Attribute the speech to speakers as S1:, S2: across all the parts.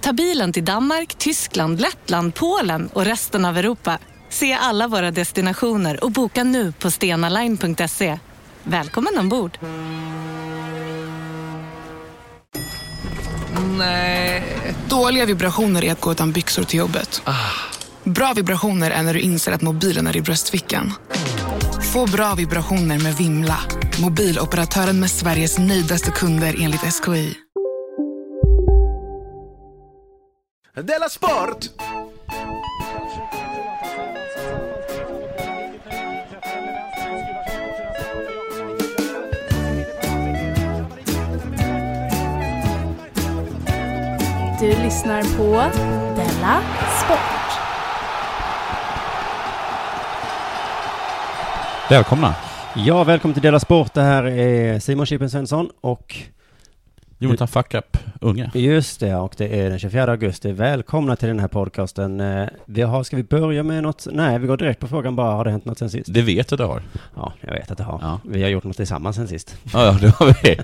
S1: Ta bilen till Danmark, Tyskland, Lettland, Polen och resten av Europa. Se alla våra destinationer och boka nu på stenaline.se. Välkommen ombord!
S2: Dåliga vibrationer är att gå utan byxor till jobbet. Bra vibrationer är när du inser att mobilen är i bröstfickan. Få bra vibrationer med Vimla. Mobiloperatören med Sveriges nöjdaste kunder enligt SKI.
S3: Della Sport!
S4: Du lyssnar på Della Sport.
S5: Välkomna! Ja, välkommen till Dela Sport. Det här är Simon Chippen Svensson och
S6: Jonathan Fuck Up Unge.
S5: just det, och det är den 24 augusti. Välkomna till den här podcasten. Eh, Vi har, ska vi börja med något? Nej, vi går direkt på frågan bara. Har det hänt något sen sist?
S6: Det vet du det har.
S5: Ja, jag vet att det har.
S6: Ja.
S5: Vi har gjort något tillsammans sen sist.
S6: Ja, ja, det har vi.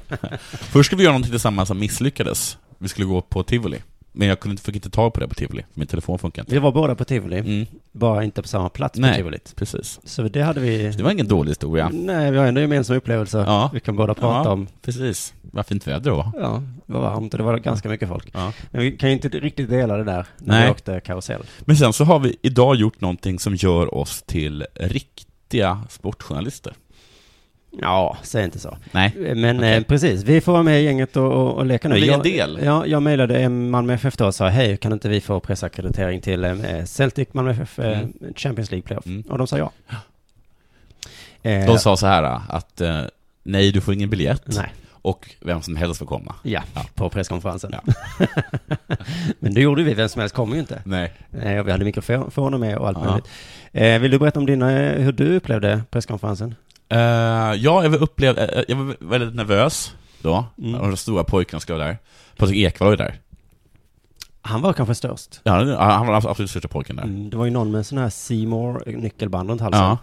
S6: Först skulle vi göra någonting tillsammans som misslyckades. Vi skulle gå på Tivoli. Men jag kunde inte, fick inte tag på det på Tivoli. Min telefon funkar inte.
S5: Vi var båda på Tivoli,
S6: Mm,
S5: bara inte på samma plats på
S6: Nej.
S5: Tivolit.
S6: precis.
S5: Så det hade vi...
S6: Det var ingen dålig historia.
S5: Nej, vi har ändå gemensamma upplevelser.
S6: Ja.
S5: Vi kan båda Mm. prata
S6: Ja.
S5: om.
S6: Precis. Vad fint väder det var.
S5: Ja, det var varmt och det var ganska mycket folk.
S6: Ja.
S5: Men vi kan ju inte riktigt dela det där när vi
S6: Nej.
S5: åkte karusell.
S6: Men sen så har vi idag gjort någonting som gör oss till riktiga sportjournalister.
S5: Ja, säg inte så.
S6: Nej.
S5: Men
S6: Okej.
S5: eh, precis, vi får vara med i gänget och, och, och leka nu.
S6: Bli en
S5: jag,
S6: del.
S5: Ja, jag mejlade eh, Malmö FF då och sa hej, kan inte vi få pressackreditering till eh, Celtic Malmö FF eh,
S6: Mm.
S5: Champions League Playoff?
S6: Mm.
S5: Och de sa ja. Eh,
S6: De sa så här att eh, nej, du får ingen biljett.
S5: Nej, Mm.
S6: Och vem som helst får komma.
S5: ja,
S6: Ja.
S5: på presskonferensen.
S6: Ja.
S5: Men det gjorde vi, vem som helst kommer ju inte.
S6: Nej.
S5: Nej, och vi hade mikrofoner med och allt
S6: Ja.
S5: möjligt. Eh, vill du berätta om dina, eh, hur du upplevde presskonferensen?
S6: Eh, ja, jag var, upplev, eh, jag var väldigt nervös då.
S5: Mm.
S6: Och de stora pojkarna skulle vara där. Patrik Ekwall var ju där.
S5: Han var kanske störst.
S6: Ja, han- han var den absolut största pojken där.
S5: Mm, det var ju någon med sån här Seymour eh, nyckelband runt halsen.
S6: Ja.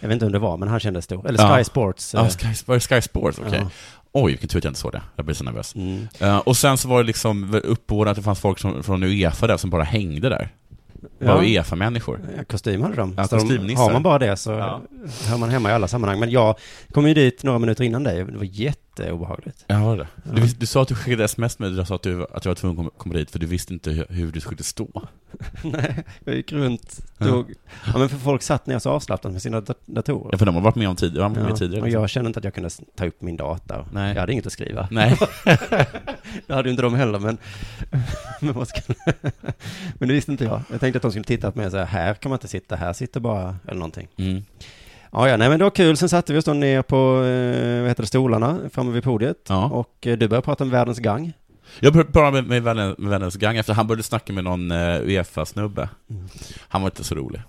S5: Jag vet inte om det var, men han kändes stor. Eller Sky
S6: Ja.
S5: Sports. eh,
S6: Ja, Sky, var det Sky Sports, okej.
S5: Ja.
S6: Oj, vilken tur att jag inte såg det. Jag blev så nervös.
S5: Mm.
S6: Eh, och sen så var det liksom uppbådat att det fanns folk som, från Uefa där som bara hängde där. Bara
S5: Ja.
S6: Uefa-människor.
S5: Ja, Kostym hade de.
S6: Ja,
S5: Så de-
S6: kostymnissar.
S5: Har man bara det så
S6: Ja.
S5: hör man hemma i alla sammanhang. Men jag kom ju dit några minuter innan dig. Det var jätteobehagligt.
S6: Ja, var det. Du, vis- du sa att du skickade sms med du sa att du, att du var tvungen att komma dit för du visste inte hur, hur du skulle stå.
S5: Nej, jag gick runt, tog... Ja, men för folk satt ner så avslappnat med sina dat- datorer.
S6: Ja, för de har varit med om tid, de har varit
S5: Ja,
S6: med tidigare.
S5: och
S6: liksom.
S5: jag kände inte att jag kunde s- ta upp min data.
S6: Nej.
S5: Jag hade inget att skriva.
S6: Nej.
S5: Det hade ju inte de heller, men... men, vad skulle... men det visste inte jag. Jag tänkte att de skulle titta på mig och säga, här kan man inte sitta, här sitter bara, eller någonting.
S6: Mm.
S5: Ja, ja, nej men det var kul. Sen satte vi oss då ner på, eh, vad heter det, stolarna framme vid podiet.
S6: Ja.
S5: Och eh, du började prata om världens gang.
S6: Jag pr- pratade med, med, vännen, med vännens gang efter han började snacka med någon eh, Uefa-snubbe.
S5: Mm.
S6: Han var inte så rolig.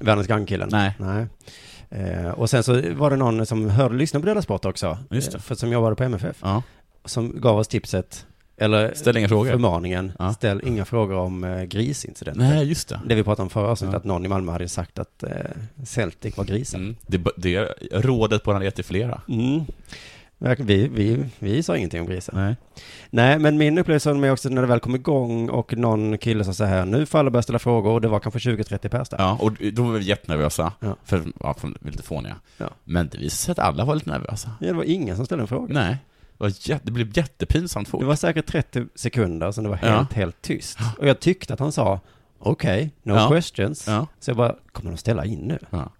S5: Världens gang-killen.
S6: Nej.
S5: nej. Eh, och sen så var det någon som hörde, lyssnade på Döda Sport också.
S6: Just det.
S5: Eh, För, som jobbade på MFF.
S6: Ja.
S5: Som gav oss tipset, eller
S6: Ställ inga frågor.
S5: förmaningen,
S6: Ja.
S5: ställ inga frågor om eh, grisincidenter.
S6: Nej, just det.
S5: Det vi pratade om förra avsnittet,
S6: Ja.
S5: att någon i Malmö hade sagt att eh, Celtic var grisen.
S6: Mm. Det, b- det rådet borde han ha gett till flera.
S5: Mm. Verkligen, Vi, vi, vi sa ingenting om grisen.
S6: Nej.
S5: Nej, men min upplevelse med också när det väl kom igång och någon kille sa så här, nu får alla börja ställa frågor och det var kanske 20-30 pers där.
S6: Ja, och då var vi jättenervösa.
S5: Ja.
S6: För, ja, för vi var lite fåniga.
S5: Ja.
S6: Men det visade sig att alla var lite nervösa.
S5: Ja, det var ingen som ställde en fråga.
S6: Nej. Det, var jätte, det blev jättepinsamt fort.
S5: Det var säkert 30 sekunder som det var
S6: Ja.
S5: helt, helt tyst. Och jag tyckte att han sa, okej, no
S6: Ja.
S5: questions.
S6: Ja.
S5: Så jag bara, kommer de ställa in nu?
S6: Ja.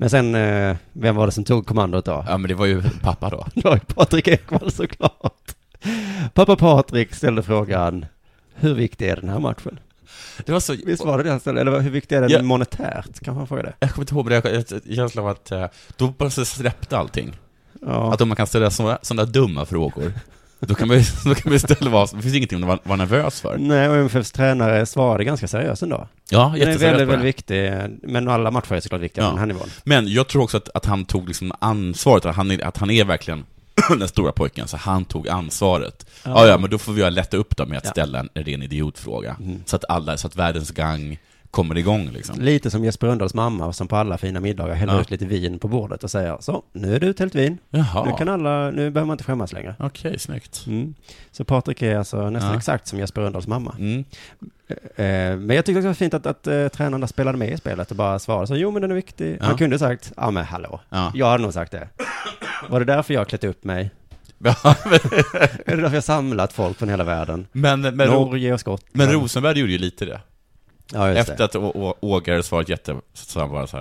S5: Men sen, eh, vem var det som tog kommandot då?
S6: ja, men det var ju pappa då.
S5: Det var ju Patrik Ekwall såklart. Pappa Patrik ställde frågan, hur viktig är den här matchen?
S6: Det var så...
S5: Visst var det det han ställde, eller hur viktig är den
S6: Ja.
S5: monetärt? Kan man fråga det?
S6: Jag kommer inte ihåg, men jag jag- jag- jag känslan av att eh, då bara så släppte allting.
S5: Ja.
S6: Att om man kan ställa sådana där dumma frågor, Då kan vi, då kan vi istället vara, det finns ingenting att vara, vara nervös för.
S5: Nej, och MFFs tränare svarade ganska seriöst ändå.
S6: Ja,
S5: Den är
S6: jätteseriös på
S5: väldigt,
S6: det.
S5: väldigt viktig, men alla matcher är såklart viktiga
S6: Ja.
S5: på den här nivån.
S6: Men jag tror också att, att han tog liksom ansvaret, att han är, att han är verkligen den stora pojken, så han tog ansvaret. Ja, ja, men då får vi lätta upp dem med att
S5: Ja. Mm.
S6: ställa en ren idiotfråga. Så att alla, så att världens gang kommer igång liksom.
S5: Lite som Jesper Rönndahls mamma som på alla fina middagar häller
S6: Ja.
S5: ut lite vin på bordet och säger så, nu är det uthällt vin. Nu kan
S6: Jaha,
S5: alla, nu behöver man inte skämmas längre.
S6: okej, snyggt.
S5: Mm. Så Patrik är alltså nästan
S6: Ja.
S5: exakt som Jesper Rönndahls mamma.
S6: Mm.
S5: Eh, men jag tyckte också det var fint att, att eh, tränarna spelade med i spelet och bara svarade så, jo men den är viktig.
S6: Ja.
S5: Han kunde ha sagt, ja men hallå,
S6: Ja.
S5: jag hade nog sagt det. Var det därför jag klätt upp mig? Är det därför jag samlat folk från hela världen?
S6: men, men, Ro-
S5: Norge och Skottland.
S6: men Rosenberg gjorde ju lite det.
S5: ja, just
S6: Efter att Å- Å- Ågare svarat jätte, så han bara så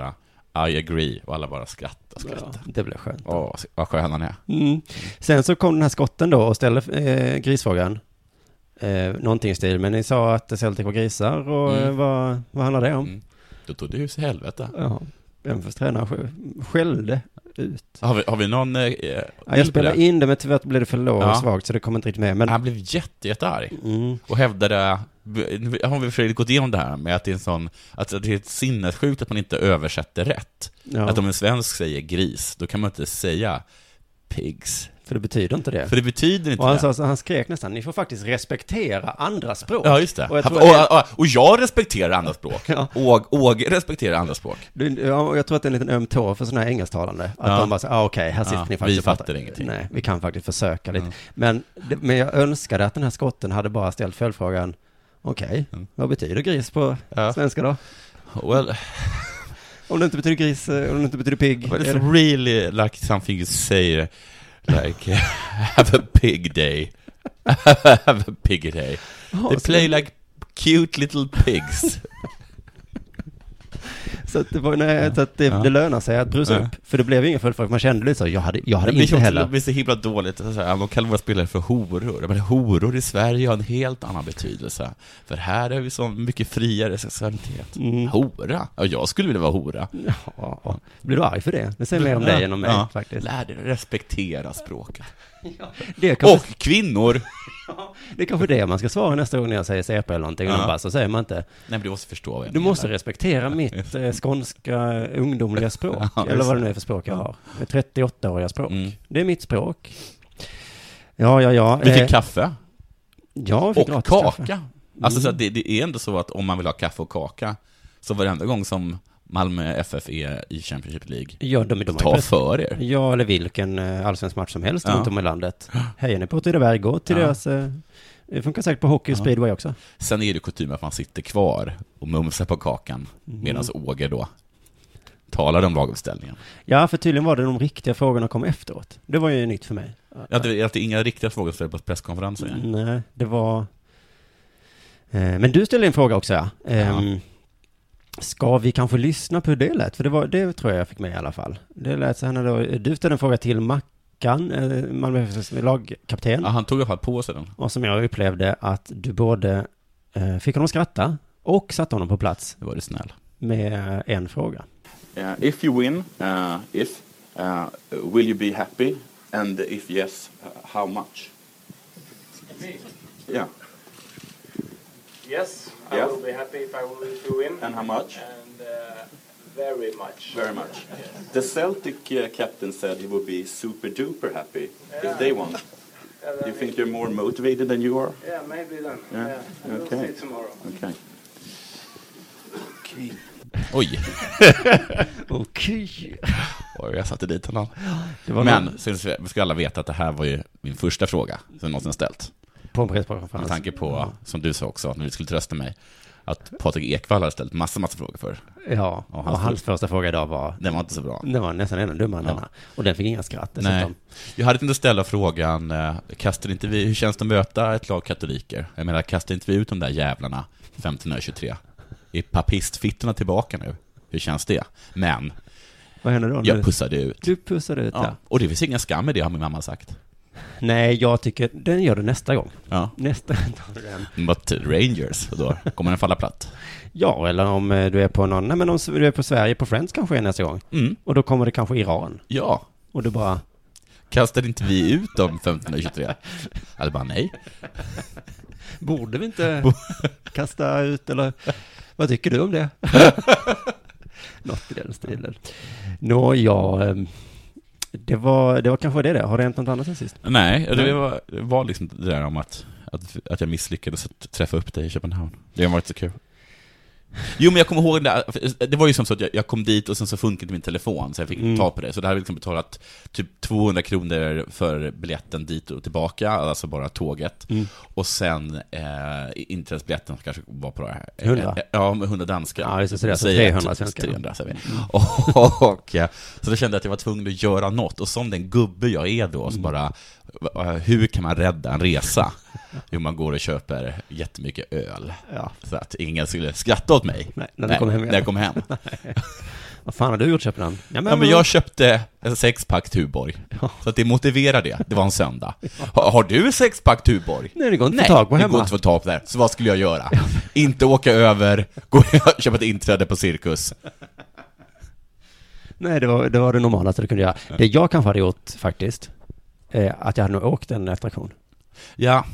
S6: här, I agree, och alla bara skrattar,
S5: det. Ja,
S6: skrattar.
S5: det blev skönt.
S6: Åh, vad skön han är.
S5: Mm. Sen så kom den här skotten då och ställde eh, grisfrågan. Eh, någonting i stil, men ni sa att Celtic var grisar och
S6: Mm.
S5: eh, vad, vad handlar det om?
S6: Mm. Då tog det ju så helvete.
S5: Ja, MFFs tränare sk- skällde ut.
S6: Har vi, har vi någon... Eh,
S5: Ja, jag spelade in det, men tyvärr blev det för lågt
S6: Ja.
S5: och svagt så det kommer inte riktigt med. Men,
S6: Han blev jätte, jättearg
S5: mm,
S6: och hävdade, nu har vi för gått igenom det här med att det är en sån, att det är ett sinnessjukt att man inte översätter rätt.
S5: ja,
S6: Att om en svensk säger gris, då kan man inte säga pigs.
S5: för det betyder inte det.
S6: För det betyder inte
S5: och han,
S6: det.
S5: sa, så- han skrek nästan, ni får faktiskt respektera andra språk.
S6: Ja, just det.
S5: Och jag
S6: Han-
S5: tror
S6: Och,
S5: att det-
S6: och, och, jag respekterar andra språk.
S5: Ja.
S6: Och, och respekterar andra språk.
S5: Du- ja, och jag tror att det är en liten öm tå för sådana här engelsktalande. Att
S6: Ja.
S5: de bara säger, ah, okej, här sitter
S6: Ja,
S5: ni faktiskt
S6: vi
S5: och pratar."
S6: fattar ingenting.
S5: Nej, vi kan faktiskt försöka lite. Men, det- men jag önskade att den här skotten hade bara ställt följdfrågan, okej, vad betyder gris på
S6: Mm. Ja.
S5: svenska då?
S6: Well,
S5: Om det inte betyder gris, eh, om det inte betyder pigg.
S6: but
S5: är det-
S6: it's really like something you say, like, have a pig day. have a pig day.
S5: Ja,
S6: They
S5: så-
S6: play like cute little pigs.
S5: Så att det, var, nej, så att det,
S6: Ja.
S5: det lönar sig att brusa
S6: Ja.
S5: upp. För det blev ju ingen följdfråga, man kände lite så, jag hade, jag hade
S6: det
S5: inte
S6: känns-
S5: heller.
S6: Det blir så himla dåligt, så här, de kallar våra spelare för horor. Men horor i Sverige har en helt annan betydelse. För här är vi så mycket friare sexualitet.
S5: Mm.
S6: Hora? Ja, jag skulle vilja vara hora.
S5: Ja, blir du arg för det? Det säger mer om dig än om mig
S6: Ja.
S5: faktiskt.
S6: Lär dig respektera språket.
S5: Det är,
S6: Och
S5: kanske,
S6: kvinnor!
S5: det är kanske det man ska svara nästa gång när jag säger CP eller någonting.
S6: Ja.
S5: Och de bara, så säger man inte.
S6: Nej, men du måste förstå vad jag
S5: Du
S6: menar.
S5: måste respektera mitt eh, skånska eh, ungdomliga språk.
S6: Ja,
S5: eller
S6: just
S5: vad det nu är för språk jag har. Det 38-åriga språk.
S6: Mm.
S5: Det är mitt språk. Ja, ja, ja.
S6: Vi
S5: eh,
S6: fick kaffe.
S5: ja, jag fick
S6: Och
S5: gratis
S6: kaka.
S5: kaffe. Mm.
S6: Alltså, så att det, det är ändå så att om man vill ha kaffe och kaka, så varenda gång som Malmö FF är i Championship League,
S5: Ja, de, de, de har
S6: ta
S5: ju
S6: för er.
S5: Ja, eller vilken eh, allsvensk match som helst
S6: Ja.
S5: runt om i landet. Hejar ni på Åtvidaberg, gå till
S6: Ja.
S5: deras... eh, Det funkar säkert på hockey och speedway också.
S6: Sen är det kutym att man sitter kvar och mumsar på kakan
S5: Mm.
S6: medan Åge då talar om lagomställningen.
S5: Ja, för tydligen var det de riktiga frågorna kom efteråt. Det var ju nytt för mig.
S6: Att det, att det är inga riktiga frågor ställda på presskonferenser.
S5: Nej, det var... Eh, Men du ställde en fråga också, ja. Ehm, Ska vi kanske lyssna på hur det lät? För det, var, det tror jag jag fick med i alla fall. Det lät så här när det var, du ställde en fråga till Mackan, eh, Malmö FFs lagkapten.
S6: Ja, han tog i alla fall på sig den.
S5: Och som jag upplevde att du både eh, fick honom att skratta och satte honom på plats
S6: Det var du snäll.
S5: med en fråga.
S7: Uh, if you win, uh, if uh, will you be happy? And if yes, uh, how much? Yeah.
S8: Yes, I
S7: Yeah.
S8: will be happy if I will to win.
S7: And how much?
S8: And uh, very much.
S7: Very much. The Celtic uh, captain said he would be super duper happy if they won.
S8: Yeah,
S7: You
S8: then
S7: think you're more motivated than you are?
S8: it- yeah, maybe then.
S7: Yeah,
S8: Yeah. We'll
S7: okay.
S8: see tomorrow.
S7: Okay.
S6: Oj,
S5: Okej.
S6: Oj, jag satte dit honom.
S5: Det var någon
S6: Men sen ska- ska alla veta att det här var ju min första fråga som jag någonsin ställt.
S5: på en
S6: Med
S5: presskonferens.
S6: tanke på, som du sa också, när du skulle trösta mig, att Patrik Ekwall hade ställt massa, massa frågor för.
S5: Ja,
S6: Ja,
S5: och
S6: han
S5: hans, första fråga idag var...
S6: Den var inte så bra.
S5: Den var nästan ännu dummare än
S6: Ja.
S5: denna. Och den fick inga skratt
S6: Nej,
S5: dessutom.
S6: jag hade tänkt att ställa frågan, eh, kastar inte vi, hur känns det att möta ett lag katoliker? Jag menar, kastar inte vi ut de där jävlarna 1523? Är papistfittorna tillbaka nu? Hur känns det? Men,
S5: Vad hände då?
S6: jag
S5: Du-
S6: pussade ut.
S5: du pussade ut
S6: Ja.
S5: ja.
S6: Och det finns ingen skam i det, har min mamma sagt.
S5: Nej, jag tycker... Den gör du nästa gång.
S6: Ja.
S5: Nästa tar du den.
S6: Mot Rangers, och då kommer den falla platt.
S5: Ja, eller om eh, du är på någon... Nej, men om du är på Sverige, på Friends kanske är nästa gång.
S6: Mm.
S5: Och då kommer det kanske Iran.
S6: Ja,
S5: Och du bara...
S6: Kastade inte vi ut dem 1523? Eller bara nej.
S5: Borde vi inte kasta ut eller vad tycker du om det? Något i den stilen. Nå, ja, ehm, det var, det var kanske det det. Har det hänt något annat sen sist?
S6: Nej, det var, det var liksom det där om att, att, att jag misslyckades att träffa upp dig i Köpenhamn. Det har varit så kul. Jo men jag kommer ihåg det där, för det var ju som så att jag, jag kom dit och sen så funkade inte min telefon så jag fick
S5: Mm.
S6: ta på det. Så det här hade liksom betalat typ 200 kronor för biljetten dit och tillbaka, alltså bara tåget.
S5: Mm.
S6: Och sen eh, inträdesbiljetten som kanske var på det här.
S5: 100?
S6: Eh, Ja, med 100 danska.
S5: Ja, just det, så det är alltså
S6: Säger
S5: 300
S6: att-
S5: svenskar.
S6: 300 säger vi.
S5: Mm.
S6: Och, och, eh, så då kände jag att jag var tvungen att göra något. Och som den gubbe jag är då,
S5: Mm.
S6: så bara, eh, hur kan man rädda en resa? Jo, man går och köper jättemycket öl. Så att ingen skulle skratta åt mig.
S5: Nej, när du kom hem igen.
S6: När jag kom hem.
S5: Vad fan har du gjort Köpenhamn?
S6: Ja, men, jag köpte en sexpack Tuborg. Så att det motiverar det. Det var en söndag. Ha- Har du en sexpack Tuborg?
S5: Nej, det går inte att få tag på
S6: det
S5: hemma.
S6: går inte att få tag på där. Så vad skulle jag göra? inte åka över, gå och köpa ett inträde på Cirkus.
S5: Nej, det var det, var det normalaste du kunde göra.
S6: Ja.
S5: Det jag kanske hade gjort faktiskt, eh, att jag hade nog åkt en attraktion.
S6: Ja,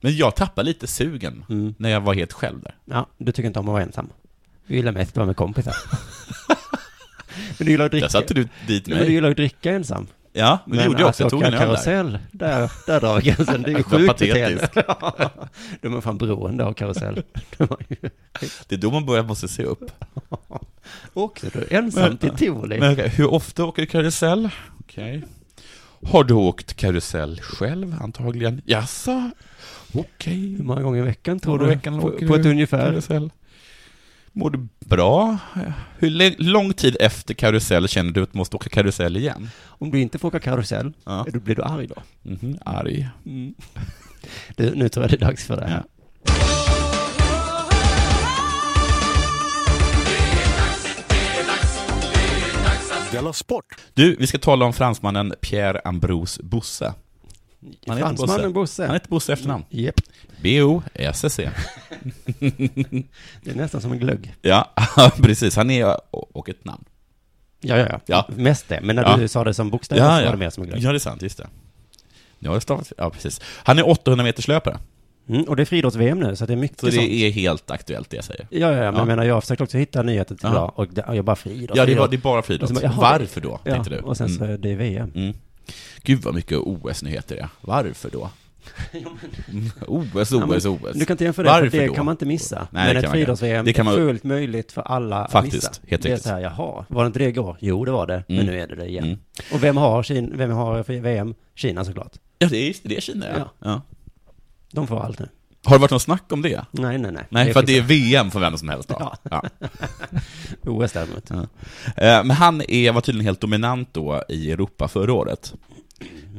S6: men jag tappade lite sugen
S5: Mm.
S6: när jag var helt själv där.
S5: Ja, du tycker inte om att vara ensam. Du gillar mest att vara med kompisar. men du gillar att dricka.
S6: Där satte du dit
S5: Nej, men alltså,
S6: mig.
S5: du gillar att dricka ensam.
S6: Ja, men det gjorde jag också. Jag
S5: att
S6: tog
S5: åka
S6: en öl där.
S5: karusell, där, där drar gränsen. Det är ju
S6: Det var
S5: sjukt
S6: patetiskt.
S5: beteende. Ja, De är fan beroende av karusell. De har ju-
S6: Det är då man börjar måste se upp.
S5: Åkte du ensam till tivoli?
S6: Men, okej, hur ofta åker du karusell? Okej. Har du åkt karusell själv antagligen? Jaså? Okej.
S5: Hur många gånger i veckan tror
S6: Några
S5: du?
S6: veckan
S5: på,
S6: åker
S5: på
S6: du
S5: ett ungefär?
S6: karusell. Mår du bra? Hur lä- lång tid efter karusell känner du att du måste åka karusell igen?
S5: Om du inte får åka karusell, då blir du arg då?
S6: Mhm, arg.
S5: Mm. Du, nu tror jag det är dags för det här.
S3: Della Sport.
S6: Du, vi ska tala om fransmannen Pierre Ambrose Bosse. Han heter
S5: Fransmannen Bosse.
S6: Han heter Bosse i efternamn.
S5: Japp.
S6: B-O-S-S-E.
S5: Det är nästan som en glögg.
S6: ja, precis. Han är och ett namn.
S5: Ja, ja, ja.
S6: Ja.
S5: Mest det. Men när du sa det som bokstäver så var det mer som en glögg.
S6: Ja, det är sant. Just det. Ja, det är stavat. Ja, precis. Han är 800 meterslöpare.
S5: Mm, och det är friidrotts-VM nu, så det är mycket
S6: Så det
S5: sånt.
S6: är helt aktuellt det jag säger.
S5: Ja, ja, ja, men jag menar, jag har försökt också hitta nyheter till
S6: Ja.
S5: idag och det, jag bara friidrott.
S6: Ja, det är bara- det är bara friidrott.
S5: Och så bara, jaha,
S6: Varför då,
S5: Ja,
S6: tänkte du.
S5: och sen så är det VM.
S6: Mm. Gud vad mycket OS-nyheter det är. Varför då? Mm, OS,
S5: Ja, men
S6: OS, OS.
S5: Du kan inte jämföra det, för
S6: Varför
S5: att det
S6: då?
S5: kan man inte missa.
S6: Nej, det
S5: men
S6: kan
S5: ett
S6: man inte.
S5: friidrotts-VM
S6: Det kan
S5: är
S6: man-
S5: fullt möjligt för alla
S6: Faktiskt,
S5: att missa.
S6: helt
S5: det är
S6: riktigt.
S5: så här, jaha, var det inte det igår? Jo, det var det, men
S6: Mm.
S5: nu är det det igen.
S6: Mm.
S5: Och vem har, Kina, vem har för VM? Kina såklart.
S6: Ja, det är, det är Kina, ja.
S5: Ja.
S6: ja.
S5: De får allt nu.
S6: Har det varit någon snack om det?
S5: Nej, nej, nej.
S6: Nej,
S5: Det
S6: för att det är
S5: fixar-
S6: VM för vem som helst då.
S5: Ja.
S6: Ja.
S5: OS däremot.
S6: Ja. Eh, Men han är, var tydligen helt dominant då i Europa förra året.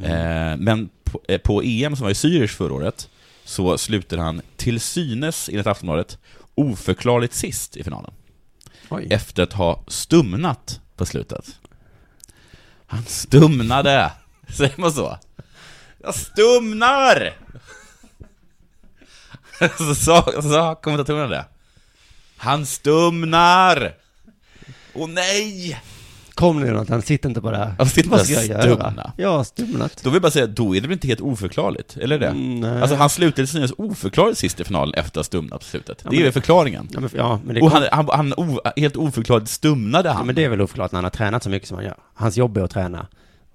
S6: Eh, Men på, eh, på EM som var i Zürich förra året så slutade han till synes, enligt Aftonbladet, oförklarligt sist i finalen.
S5: Oj.
S6: Efter att ha stumnat på slutet. Han stumnade! Säger man så? Jag stumnar! Så sa, så sa kommentatorerna det. Han stumnar! Åh nej!
S5: Kom nu Jonathan, sitt inte på det här.
S6: Jag sitter
S5: Vad
S6: och
S5: ska jag
S6: stumna.
S5: göra? Jag har stumnat.
S6: Då vill jag bara säga, då är det väl inte helt oförklarligt? Eller det?
S5: Mm, nej.
S6: Alltså han slutade till synes oförklarligt sist i finalen efter att ha stumnat på slutet.
S5: Ja,
S6: det är
S5: men-
S6: väl förklaringen.
S5: Ja, men, ja, men det
S6: Och han, han, han o, helt oförklarligt stumnade han.
S5: Ja, men det är väl oförklarligt när han har tränat så mycket som han gör. Hans jobb är att träna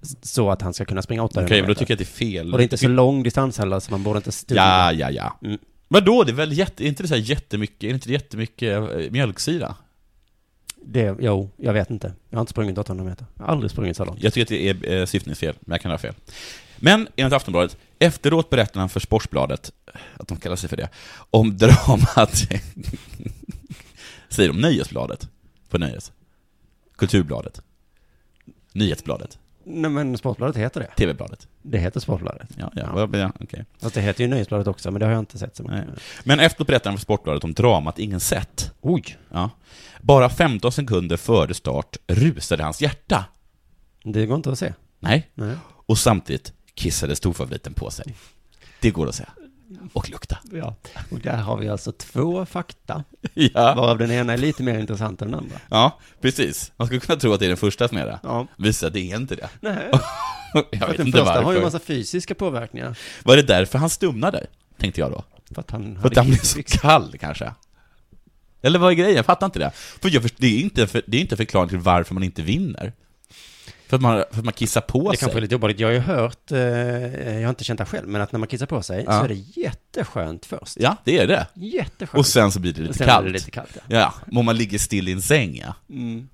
S5: s- så att han ska kunna springa 800
S6: Okej, men då tycker jag att det är fel.
S5: Och det är inte så lång distans heller, så man borde inte stumna.
S6: Ja, ja, ja.
S5: Mm.
S6: Vadå, det är väl jätte, är inte det så här jättemycket, är inte det jättemycket eh, mjölksyra?
S5: Det, jo, jag vet inte. Jag har inte sprungit 800 meter. Jag har aldrig sprungit så långt.
S6: Jag tycker att det är eh, syftningsfel, men jag kan ha fel. Men enligt Aftonbladet, efteråt berättar han för Sportbladet, att de kallar sig för det, om dramat, säger de Nöjesbladet? På Nöjes? Kulturbladet? Nyhetsbladet?
S5: Nej, men Sportbladet heter det.
S6: TV-bladet?
S5: Det heter Sportbladet.
S6: Ja, ja, ja. okej.
S5: Fast det heter ju Nöjesbladet också, men det har jag inte sett så många
S6: Nej.
S5: gånger.
S6: Men efteråt berättar han för Sportbladet om dramat ingen sett.
S5: Oj!
S6: Ja. Bara 15 sekunder före start rusade hans hjärta.
S5: Det går inte att se.
S6: Nej.
S5: Nej.
S6: Och samtidigt kissade storfavoriten på sig. Det går att säga. Och lukta.
S5: Ja, och där har vi alltså två fakta.
S6: Ja.
S5: Varav den ena är lite mer intressant än den andra.
S6: Ja, precis. Man skulle kunna tro att det är den första som är det.
S5: Ja.
S6: Visar att det är inte det.
S5: Nej.
S6: jag
S5: För att
S6: vet
S5: den
S6: inte
S5: första
S6: varför.
S5: har ju en massa fysiska påverkningar.
S6: Var det därför han stumnade? Tänkte jag då.
S5: För att han
S6: För att
S5: hade
S6: han blev så kall kanske. Eller vad är grejen? Jag fattar inte det. För jag först, det, är inte för, det är inte en förklaring till varför man inte vinner. För att man, för att man kissar på sig.
S5: Det kanske är lite jobbigt. Jag har ju hört, eh, jag har inte känt det själv, men att när man kissar på sig
S6: Ja.
S5: så är det jätteskönt först.
S6: Ja, det är det.
S5: Jätteskönt.
S6: Och sen så blir det lite
S5: Och sen
S6: kallt.
S5: blir det lite kallt, ja.
S6: ja. men om man ligger still i en säng, ja.
S5: Mm.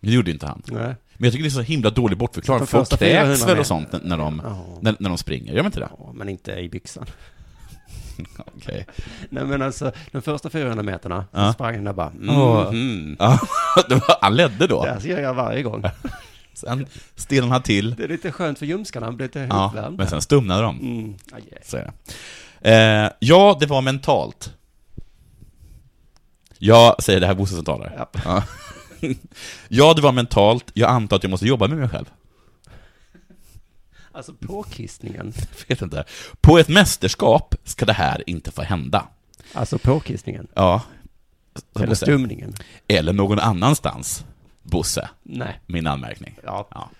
S6: Det gjorde ju inte han.
S5: Nej.
S6: Men jag tycker det är så himla dålig bortförklaring.
S5: De
S6: Folk
S5: första 400
S6: kräks väl
S5: meter.
S6: och sånt när de,
S5: Ja.
S6: när, när de springer? Gör de inte det?
S5: Ja, men inte i byxan.
S6: Okej.
S5: Nej men alltså, de första 400 meterna
S6: Ja.
S5: så sprang han där bara, mm,
S6: Åh.
S5: mm.
S6: Ja, det var- han ledde då.
S5: Det här gör jag varje gång.
S6: Sen stelnade han till.
S5: Det är lite skönt för ljumskarna, han blir lite
S6: Ja,
S5: uppvärmd.
S6: men sen stumnade de.
S5: Mm. Aj, aj.
S6: Så är det. Eh, ja, det var mentalt. Jag säger det här Bosse som talar.
S5: Ja.
S6: Ja. ja, det var mentalt. Jag antar att jag måste jobba med mig själv.
S5: Alltså påkissningen.
S6: Vet inte. På ett mästerskap ska det här inte få hända.
S5: Alltså påkissningen.
S6: Ja. Så
S5: Eller
S6: Bosse.
S5: stumningen.
S6: Eller någon annanstans, Bosse.
S5: Nej.
S6: Min anmärkning.
S5: Ja.
S6: Ja.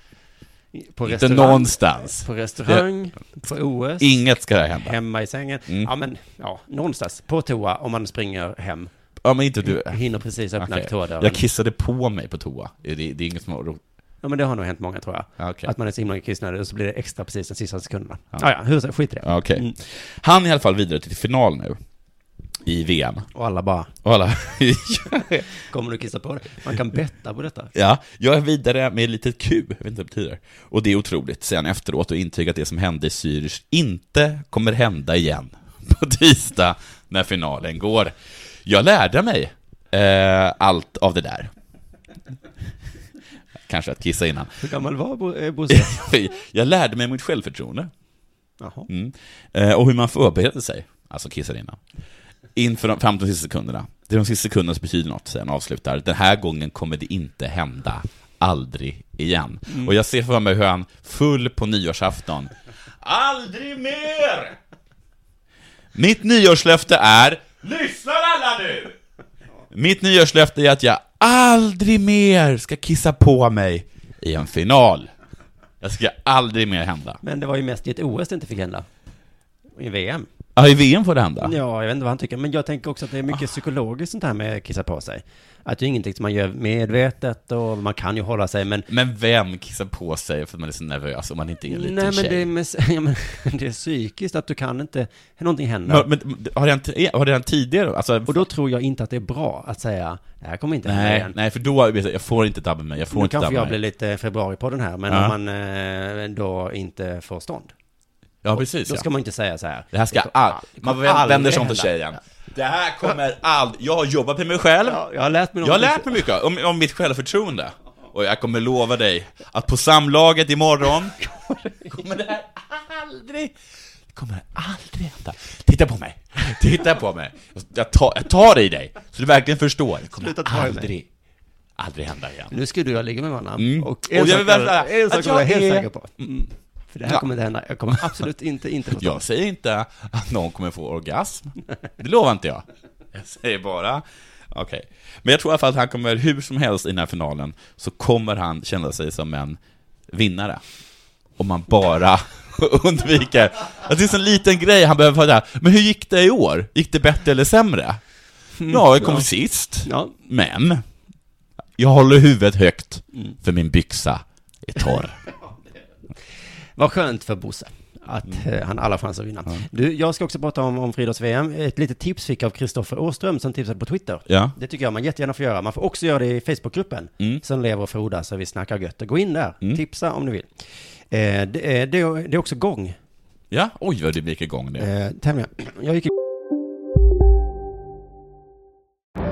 S5: På
S6: Inte någonstans.
S5: På restaurang, på OS,
S6: Inget ska det här hända.
S5: hemma i sängen.
S6: Mm.
S5: Ja men, ja, någonstans. På toa om man springer hem.
S6: Ja, men inte du.
S5: Hinner precis öppna
S6: Okej.
S5: toadörren.
S6: Jag kissade på mig på toa. Det, det är inget som har ro-
S5: Ja men det har nog hänt många tror jag.
S6: Ja, okej.
S5: Att man är så himla kissnödig och så blir det extra precis de sista sekunderna. Ja ja, hur, så- skit i det.
S6: Ja, Okej.
S5: Mm.
S6: Han är i alla fall vidare till final nu. I VM.
S5: Och alla bara,
S6: Och alla...
S5: kommer du kissa på dig? Man kan betta på detta.
S6: ja, jag är vidare med ett litet Q, jag vet inte vad det betyder. Och det är otroligt, sen efteråt, och intyga att det som hände i Zürich inte kommer hända igen på tisdag när finalen går. Jag lärde mig eh, allt av det där. Kanske att kissa innan.
S5: Hur gammal var Bo- eh, Bosse?
S6: jag lärde mig mitt självförtroende.
S5: Jaha.
S6: Mm. Eh, och hur man förbereder sig, alltså kissar innan, inför de, fram till de sista sekunderna. Det är de sista sekunderna som betyder något, sen avslutar. Den här gången kommer det inte hända, aldrig igen. Och jag ser för mig hur han, full på nyårsafton, aldrig mer! Mitt nyårslöfte är, lyssnar alla nu! Mitt nyårslöfte är att jag aldrig mer ska kissa på mig i en final. Jag ska aldrig mer hända.
S5: Men det var ju mest i ett OS det inte fick hända. I VM.
S6: Ja, Ah. i VM får det hända.
S5: Ja, jag vet inte vad han tycker. Men jag tänker också att det är mycket psykologiskt sånt här med att kissa på sig. Att det är ingenting som man gör medvetet och man kan ju hålla sig, men...
S6: Men vem kissar på sig för att man är så nervös om man inte är en
S5: Nej,
S6: liten
S5: men
S6: tjej?
S5: det, är med, ja, men det är psykiskt att du kan inte... Någonting händer.
S6: Men, men har, det hänt, eh, har det hänt tidigare? Alltså,
S5: och då tror jag inte att det är bra att säga det här kommer inte hända
S6: nej,
S5: igen.
S6: nej, för då, vet jag, jag får inte dabba mig, jag får
S5: Nu
S6: inte dabba
S5: kanske jag
S6: mig.
S5: blir lite februari på den här, men
S6: Ja.
S5: om man eh, då inte får stånd.
S6: Ja, precis
S5: Då
S6: ja.
S5: ska man inte säga så här.
S6: Det här ska
S5: kommer
S6: all...
S5: det
S6: Man
S5: kommer
S6: vänder,
S5: aldrig
S6: vänder sig om till
S5: hända.
S6: tjejen. Det här kommer aldrig... Jag har jobbat med mig själv.
S5: Ja, jag har lärt mig
S6: Jag har
S5: någonting-
S6: lärt mig mycket om, om mitt självförtroende. Och jag kommer lova dig att på samlaget imorgon kommer det här aldrig... Det kommer aldrig hända. Titta på mig. Titta på mig. Jag tar, jag tar i dig, så du verkligen förstår. Det kommer
S5: Sluta ta i mig.
S6: aldrig, aldrig hända igen.
S5: Nu skulle jag ligga med varandra.
S6: Mm.
S5: Och
S6: Och jag
S5: en
S6: vill
S5: sak
S6: bara
S5: är-
S6: säga
S5: en
S6: att
S5: sak var jag
S6: jag
S5: helt
S6: är-
S5: säker på. Mm. För det här
S6: Ja.
S5: kommer inte hända. Jag kommer absolut inte, inte få
S6: Jag säger inte att någon kommer få orgasm. Det lovar inte jag. Jag säger bara, okej. Men jag tror i alla fall att han kommer, hur som helst i den här finalen, så kommer han känna sig som en vinnare. Om man bara undviker. Att det är en sån liten grej han behöver få där. Men hur gick det i år? Gick det bättre eller sämre? Ja, jag kom sist.
S5: Ja.
S6: Men, jag håller huvudet högt, för min byxa är torr.
S5: Vad skönt för Bosse. Att eh, han har alla chanser att vinna. Du, jag ska också prata om, om friidrotts-VM. Ett litet tips fick jag av Kristoffer Åström som tipsade på Twitter.
S6: Ja.
S5: Det tycker jag man jättegärna får göra. Man får också göra det i Facebookgruppen. Som lever och frodas och vi snackar gött. Gå in där, tipsa om ni vill. Eh, det, är, det, är, det är också gång,
S6: Ja, oj vad det gick igång nu.
S5: eh, tävlingar. Jag gick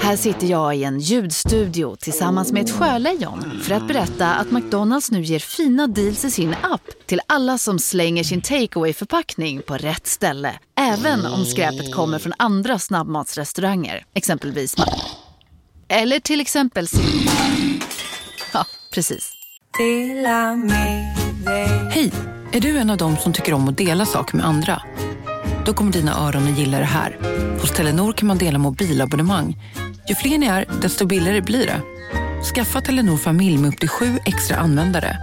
S9: Här sitter jag i en ljudstudio tillsammans med ett sjölejon för att berätta att McDonalds nu ger fina deals i sin app till alla som slänger sin takeaway förpackning på rätt ställe. Även om skräpet kommer från andra snabbmatsrestauranger, exempelvis Ma- Eller till exempel Sim- Ja, precis.
S10: Hej! Är du en av dem som tycker om att dela saker med andra? Då kommer dina öron att gilla det här. Hos Telenor kan man dela mobilabonnemang. Ju fler ni är, desto billigare blir det. Skaffa Telenor familj med upp till sju extra användare.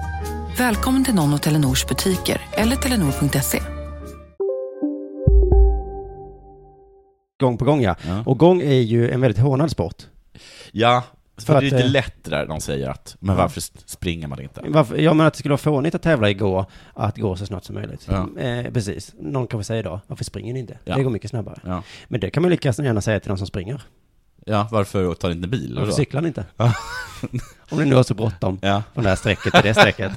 S10: Välkommen till någon av Telenors butiker eller telenor.se.
S5: Gång på gång ja. Och gång är ju en väldigt hånad sport.
S6: Ja, för,
S5: För
S6: det är
S5: att,
S6: lite
S5: eh,
S6: lätt det där de säger att, men varför s- springer man inte?
S5: Varför, jag menar att det skulle vara fånigt att tävla igår, att gå så snabbt som möjligt.
S6: Ja.
S5: Eh, precis. Någon kanske säger då, varför springer ni inte?
S6: Ja.
S5: Det går mycket snabbare.
S6: Ja.
S5: Men det kan man ju lika gärna säga till de som springer.
S6: Ja, varför tar ni inte bil?
S5: Varför cyklar ni inte?
S6: Ja.
S5: Om ni nu har så bråttom från det här strecket till det strecket.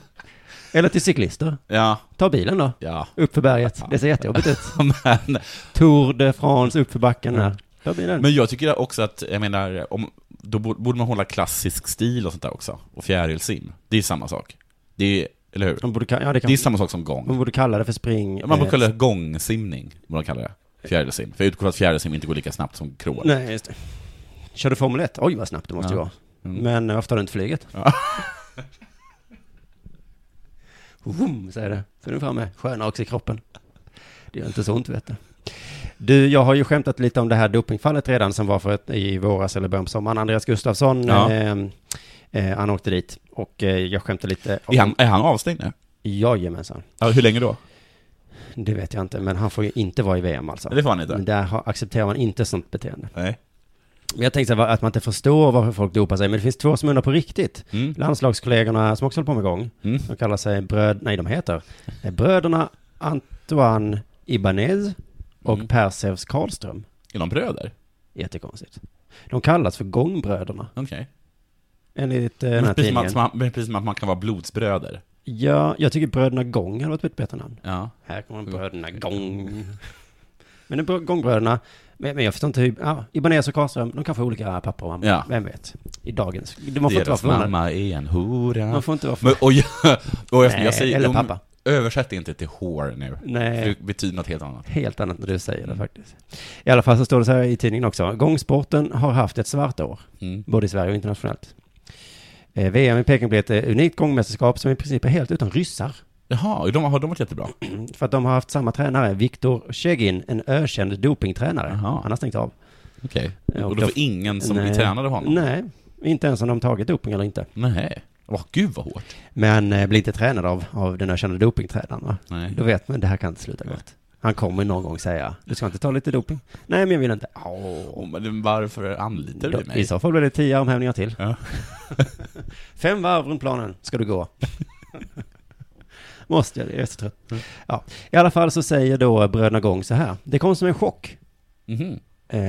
S5: Eller till cyklister.
S6: Ja.
S5: Ta bilen då.
S6: Ja.
S5: Upp för berget. Det ser jättejobbigt ut.
S6: Men-
S5: Tour de France, upp för backen här. Ta bilen.
S6: Men jag tycker också att, jag menar, om, då bo- borde man hålla klassisk stil och sånt där också. Och fjärilsim. Det är ju samma sak. Det är, eller hur?
S5: De borde ka- ja, det kan-
S6: det är samma sak som gång.
S5: Man borde kalla det för spring.
S6: Man brukar
S5: eh,
S6: kalla det gångsimning, vad de kallar det. Fjärilsim. För jag utgår från att fjärilsim inte går lika snabbt som crawl.
S5: Nej, just det. Kör du Formel 1? Oj, vad snabbt det måste
S6: Ja.
S5: vara.
S6: Mm.
S5: Men eh, varför tar du inte flyget? Vroom, säger det. Så är du framme. Sköna också i kroppen. Det gör inte så ont, vet du. Du, jag har ju skämtat lite om det här dopingfallet redan som var för ett, i våras eller början på sommaren. Andreas Gustafsson,
S6: Ja.
S5: eh, eh, han åkte dit och eh, jag skämtade lite. om-
S6: Är han, är han avstängd nu?
S5: Jajamensan.
S6: Ja, hur länge då?
S5: Det vet jag inte, men han får ju inte vara i VM alltså.
S6: Det får han inte.
S5: Men Där har- accepterar man inte sånt beteende.
S6: Nej.
S5: Men jag tänkte så här, att man inte förstår varför folk dopar sig, men det finns två som undrar på riktigt.
S6: Mm.
S5: Landslagskollegorna som också håller på med gång, de kallar sig bröd, nej de heter, eh, bröderna Antoine Ibanez och
S6: Mm.
S5: Persevs Karlström.
S6: Är de bröder?
S5: Jättekonstigt. De kallas för gångbröderna.
S6: Okej.
S5: Enligt eh, den här
S6: Men precis, som
S5: tidningen.
S6: att, som att- men precis som att man kan vara blodsbröder.
S5: Ja, jag tycker bröderna Gång hade varit ett bättre namn.
S6: Ja.
S5: Här kommer
S6: Mm.
S5: bröderna Gång. Men det är gångbröderna, men, men jag förstår inte hur, ja, Ibanez och Karlström, de kanske har olika pappa och mamma.
S6: Ja.
S5: Vem vet? I dagens, man får inte vara
S6: Deras
S5: förvånad.
S6: mamma är en hora.
S5: Man får inte vara för-
S6: Men, och jag, och jag,
S5: Nej,
S6: jag säger,
S5: eller
S6: om-
S5: pappa.
S6: Översätt inte till hår nu.
S5: Nej.
S6: För Det betyder något helt annat.
S5: Helt annat när du säger
S6: Mm.
S5: det faktiskt. I alla fall så står det så här i tidningen också. Gångsporten har haft ett svart år,
S6: Mm.
S5: både i Sverige och internationellt. Eh, VM i Peking blev ett eh, unikt gångmästerskap som i princip är helt utan ryssar.
S6: Jaha, de, har de varit jättebra?
S5: För att de har haft samma tränare, Viktor Tjegin, en ökänd dopingtränare. Han har stängt av.
S6: Okej.
S5: Eh,
S6: Och då
S5: de-
S6: var ingen som tränade honom?
S5: Nej, inte ens om de tagit doping eller inte.
S6: Nej. Åh, gud vad hårt.
S5: Men eh, blir inte tränad av, av den ökända dopingtränaren va?
S6: Nej.
S5: Då vet man, det här kan inte sluta gott. Han kommer någon gång säga, du ska inte ta lite doping? Nej, men jag vill inte.
S6: Åh, men varför anlitar
S5: Då-
S6: du mig?
S5: I så fall blir det tio armhävningar till. Fem varv runt planen ska du gå. Måste jag, jag är så trött. Ja. I alla fall så säger då bröderna Gång så här. Det kom som en chock.
S6: Mhm.
S5: Eh,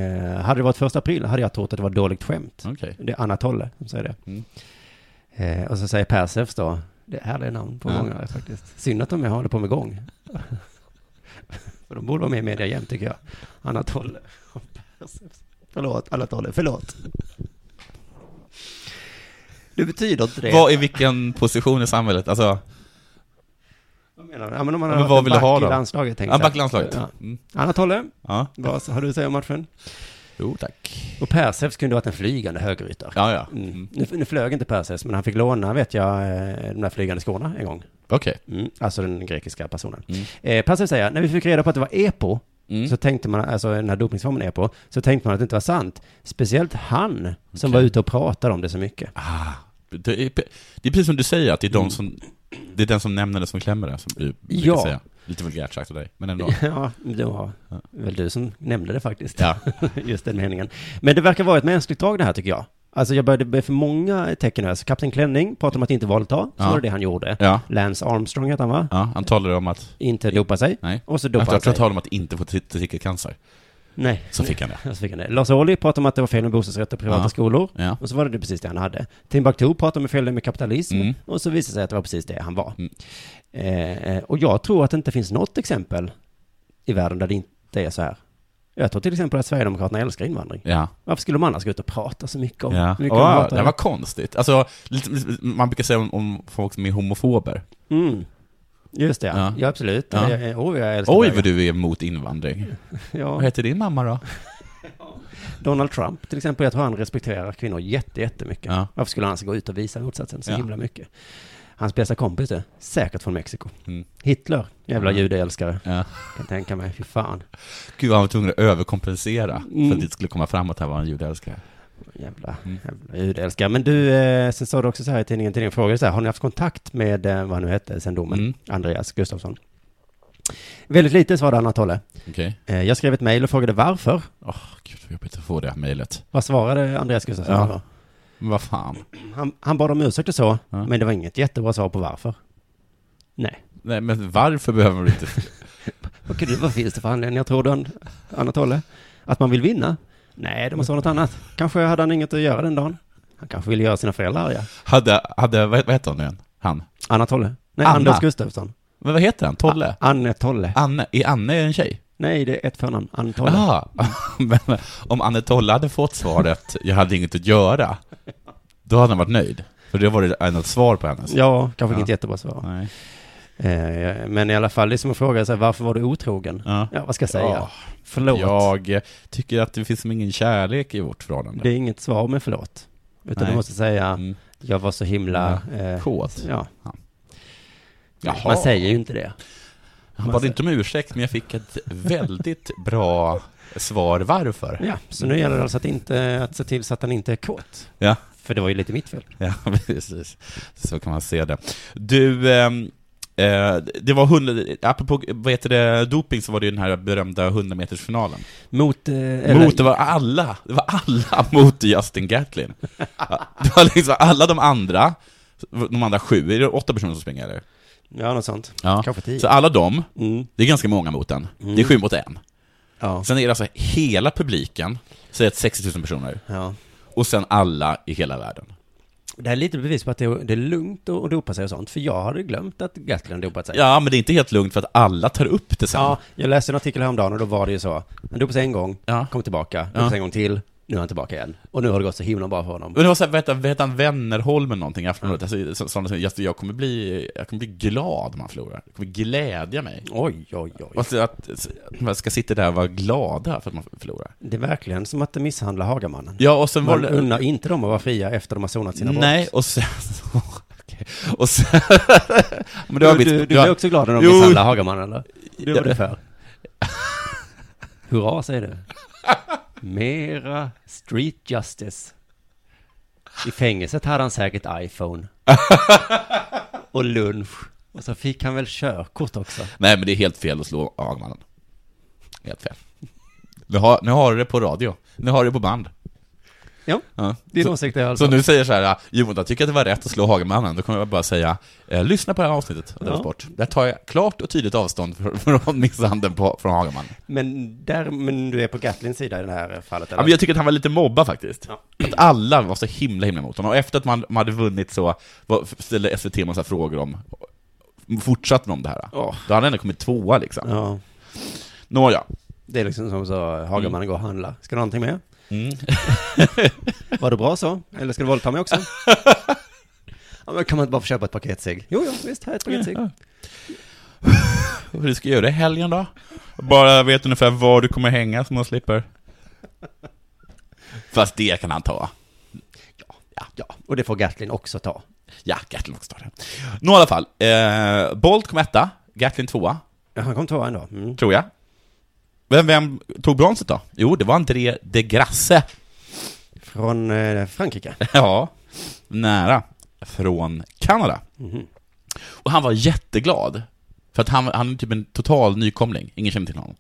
S5: hade det varit första april hade jag trott att det var ett dåligt skämt.
S6: Okej. Mm.
S5: Det är Anna Tolle som säger det. Eh, och så säger Persefs då. Det är härliga namn på
S6: Ja.
S5: många faktiskt. Synd att de håller på med gång. För de borde vara med i media jämt tycker jag. Anna Tolle och Persefs. Förlåt, Anna Tolle, förlåt. Det betyder inte det.
S6: Vad i vilken position i samhället? Alltså,
S5: menar du? Ja, men om man
S6: Ja,
S5: har
S6: men vad vill du
S5: back
S6: ha
S5: i
S6: då?
S5: landslaget, tänker
S6: Ja,
S5: jag.
S6: back i landslaget.
S5: Ja.
S6: Mm.
S5: Anna Tolle,
S6: Ja.
S5: vad har du att säga om matchen?
S6: Jo, tack.
S5: Och Persefs kunde varit en flygande högerytter.
S6: Ja, ja.
S5: Mm. Nu, nu flög inte Persefs, men han fick låna, vet jag, eh, de där flygande skorna en gång.
S6: Okej.
S5: Mm, alltså den grekiska personen.
S6: Mm.
S5: Eh, Persefs säger, när vi fick reda på att det var EPO,
S6: Mm.
S5: så tänkte man, alltså den här dopningsformen EPO, så tänkte man att det inte var sant. Speciellt han, som var ute och pratade om det så mycket.
S6: Ah. det, är, det är precis som du säger, att det är, de som, det är den som nämner det som klämmer det, som du brukar
S5: Mm. Ja.
S6: säga. Lite vulgärt sagt av dig, men ändå.
S5: Ja, det var väl du som nämnde det faktiskt.
S6: Ja.
S5: Just den meningen. Men det verkar vara ett mänskligt drag det här tycker jag. Alltså jag började bli för många tecken här. Så Kapten Klänning pratade om att inte våldta, så
S6: Ja.
S5: var det det han gjorde.
S6: Ja.
S5: Lance Armstrong heter han va?
S6: Ja, han talade om att...
S5: Inte dopa sig.
S6: Nej.
S5: Och så dopar
S6: han
S5: han sig.
S6: sig. talade om att inte få testikelcancer.
S5: Nej.
S6: Så fick han det.
S5: Så fick han det. Lars Ohly pratade om att det var fel med bostadsrätter och privata
S6: Ja.
S5: skolor.
S6: Ja.
S5: Och så var det det precis det han hade. Timbuktu pratade om fel med kapitalism.
S6: Mm.
S5: Och så visade det sig att det var precis det han var. Eh, och jag tror att det inte finns något exempel i världen där det inte är så här. Jag tror till exempel att Sverigedemokraterna älskar invandring.
S6: Ja.
S5: Varför skulle de annars gå ut och prata så mycket om?
S6: Ja.
S5: hur mycket de
S6: Åh,
S5: hatar
S6: det var konstigt. Alltså, lite- man brukar säga om, om folk som är homofober.
S5: Mm. Just det, ja. ja absolut. Ja. Jag, oh, jag älskar
S6: Oj,
S5: bögar.
S6: vad du är emot invandring.
S5: Ja.
S6: Vad heter din mamma då?
S5: Donald Trump till exempel, jag tror han respekterar kvinnor jätte, jättemycket.
S6: Ja.
S5: Varför skulle han alltså gå ut och visa motsatsen så
S6: Ja.
S5: himla mycket? Hans bästa kompis är säkert från Mexiko.
S6: Mm.
S5: Hitler, jävla
S6: Ja.
S5: judeälskare.
S6: Ja.
S5: Kan tänka mig, fy fan.
S6: Gud, han var tvungen att överkompensera för
S5: Mm.
S6: att det skulle komma fram att han var en judeälskare.
S5: Jävla,
S6: Mm.
S5: jävla judeälskare. Men du, eh, sen sa du också så här i tidningen till din fråga, så här, har ni haft kontakt med, eh, vad han nu hette, sen domen,
S6: Mm.
S5: Andreas Gustafsson? Väldigt lite, svarade Anna Tolle.
S6: Okej.
S5: Eh, jag skrev ett mejl och frågade varför.
S6: Gud, vad jobbigt att få det här mejlet.
S5: Vad svarade Andreas Gustafsson?
S6: Ja. Men vad fan.
S5: Han, han bad om ursäkt och så, men det var inget jättebra svar på varför. Nej.
S6: Nej, men varför behöver du inte...
S5: Vad, kan du, vad finns det för anledningar, tror du, An- Anna Tolle? Att man vill vinna? Nej, det måste vara något annat. Kanske hade han inget att göra den dagen. Han kanske ville göra sina föräldrar arga.
S6: Hade, hade vad, vad heter han nu igen? Han?
S5: Anna Tolle? Nej,
S6: Anna.
S5: Anders Gustafsson.
S6: Men vad heter han? Tolle?
S5: Anne Tolle.
S6: Anne, är Anne en tjej?
S5: Nej, det är ett förnamn. Anne Tolle.
S6: Jaha, men om Anne Tolle hade fått svaret ”jag hade inget att göra”, då hade han varit nöjd. För det var det ett svar på hennes.
S5: Ja, kanske inget jättebra svar.
S6: Nej.
S5: Eh, men i alla fall, det är som att fråga sig varför var du otrogen?
S6: Ja.
S5: vad ska jag säga?
S6: Ja.
S5: Förlåt.
S6: Jag tycker att det finns som ingen kärlek i vårt förhållande.
S5: Det är inget svar med förlåt. Utan
S6: Nej. Mm.
S5: du måste säga, jag var så himla...
S6: Ja,
S5: eh,
S6: kåt.
S5: Ja.
S6: Jaha.
S5: Man säger ju inte det.
S6: Han
S5: Man
S6: bad
S5: säger-
S6: inte om ursäkt, men jag fick ett väldigt bra svar varför.
S5: Ja, så nu gäller det alltså att, inte, att se till så att han inte är kåt.
S6: Ja.
S5: För det var ju lite mitt fel.
S6: Ja, precis. Så kan man se det. Du, ehm, eh, det var 100, apropå vad heter det, doping så var det ju den här berömda 100-metersfinalen.
S5: Mot... Eh,
S6: Mot, det var alla, det var alla mot Justin Gatlin. Ja, Det var liksom alla de andra, de andra sju, är det åtta personer som springer eller?
S5: Ja, något sånt.
S6: Ja.
S5: Kanske tio.
S6: Så alla de,
S5: Mm.
S6: det är ganska många mot en.
S5: Mm.
S6: Det är sju mot en.
S5: Ja.
S6: Sen är det alltså hela publiken, säg att 60 000 personer.
S5: Ja.
S6: Och sen alla i hela världen.
S5: Det här är lite bevis på att det är, det är lugnt att att dopa sig och sånt. För jag hade glömt att Gatlin dopat sig.
S6: Ja, men det är inte helt lugnt för att alla tar upp det sen.
S5: Ja, jag läste en artikel häromdagen och då var det ju så. Han dopade sig en gång, kom tillbaka, dopade
S6: Ja.
S5: sig en gång till, nu är han tillbaka igen. Och nu har det gått så himla bra för honom.
S6: Men det var såhär, vad hette- vad hette han, Vännerholm eller någonting i Aftonbladet? Alltså, så- sådana som, just, jag kommer bli, jag kommer bli glad om han förlorar. Jag kommer glädja mig.
S5: Oj, oj, oj.
S6: Och så att, så- att man ska sitta där och vara glada för att man förlorar.
S5: Det är verkligen som att misshandla Hagamannen.
S6: Ja, och sen
S5: Man
S6: var det-
S5: unnar inte dem att vara fria efter de har sonat sina brott.
S6: Nej, och sen... Okej. Och sen... men det var
S5: du,
S6: mitt-
S5: du, du
S6: det var-
S5: blev också glad när de
S6: Jo.
S5: misshandlade Hagaman, eller? Det var
S6: Ja.
S5: du för. Hurra, säger du. Mera street justice. I fängelset hade han säkert iPhone. Och lunch. Och så fick han väl körkort också.
S6: Nej, men det är helt fel att slå Agmannen. Helt fel. Nu har, nu har du det på radio. Nu har du det på band.
S5: Ja, det är alltså- en åsikt i alla
S6: Så
S5: fall.
S6: nu säger så här, Johan, jag tycker att det var rätt att slå Hagemannen. Då kommer jag bara säga, eh, lyssna på det här avsnittet av
S5: Ja.
S6: Della Sport. Där tar jag klart och tydligt avstånd fr- från misshandeln på, från Hagemannen.
S5: Men, där, men du är på Gatlins sida i det här fallet,
S6: Ja,
S5: eller?
S6: men jag tycker att han var lite mobbad faktiskt. Att alla var så himla himla emot honom. Och efter att man, man hade vunnit så var, ställde SVT en massa frågor om, fortsatte de om det här.
S5: Ja.
S6: Då hade han ändå kommit tvåa liksom.
S5: Ja.
S6: Nåja.
S5: Det är liksom som så, Hagamannen går och handlar. Ska du ha någonting med?
S6: Mm.
S5: Var det bra så? Eller ska du våldta mig också? ja, men kan man inte bara få köpa ett paket cigg? Jo, jo, visst, här är ett paket cigg.
S6: Vad du ska göra det i helgen då? Bara vet ungefär var du kommer hänga så man slipper. Fast det kan han ta.
S5: Och det får Gatlin också ta.
S6: Ja, Gatlin också ta det. Nå i alla fall, eh, Bolt kom etta, Gatlin tvåa,
S5: Ja, han kom tvåa ändå. Mm.
S6: tror jag. Vem, vem tog bronset då? Jo, det var André de Grasse.
S5: Från eh, Frankrike.
S6: Ja, nära. Från Kanada.
S5: Mhm.
S6: Och han var jätteglad. För att han, han är typ en total nykomling, ingen känner till honom.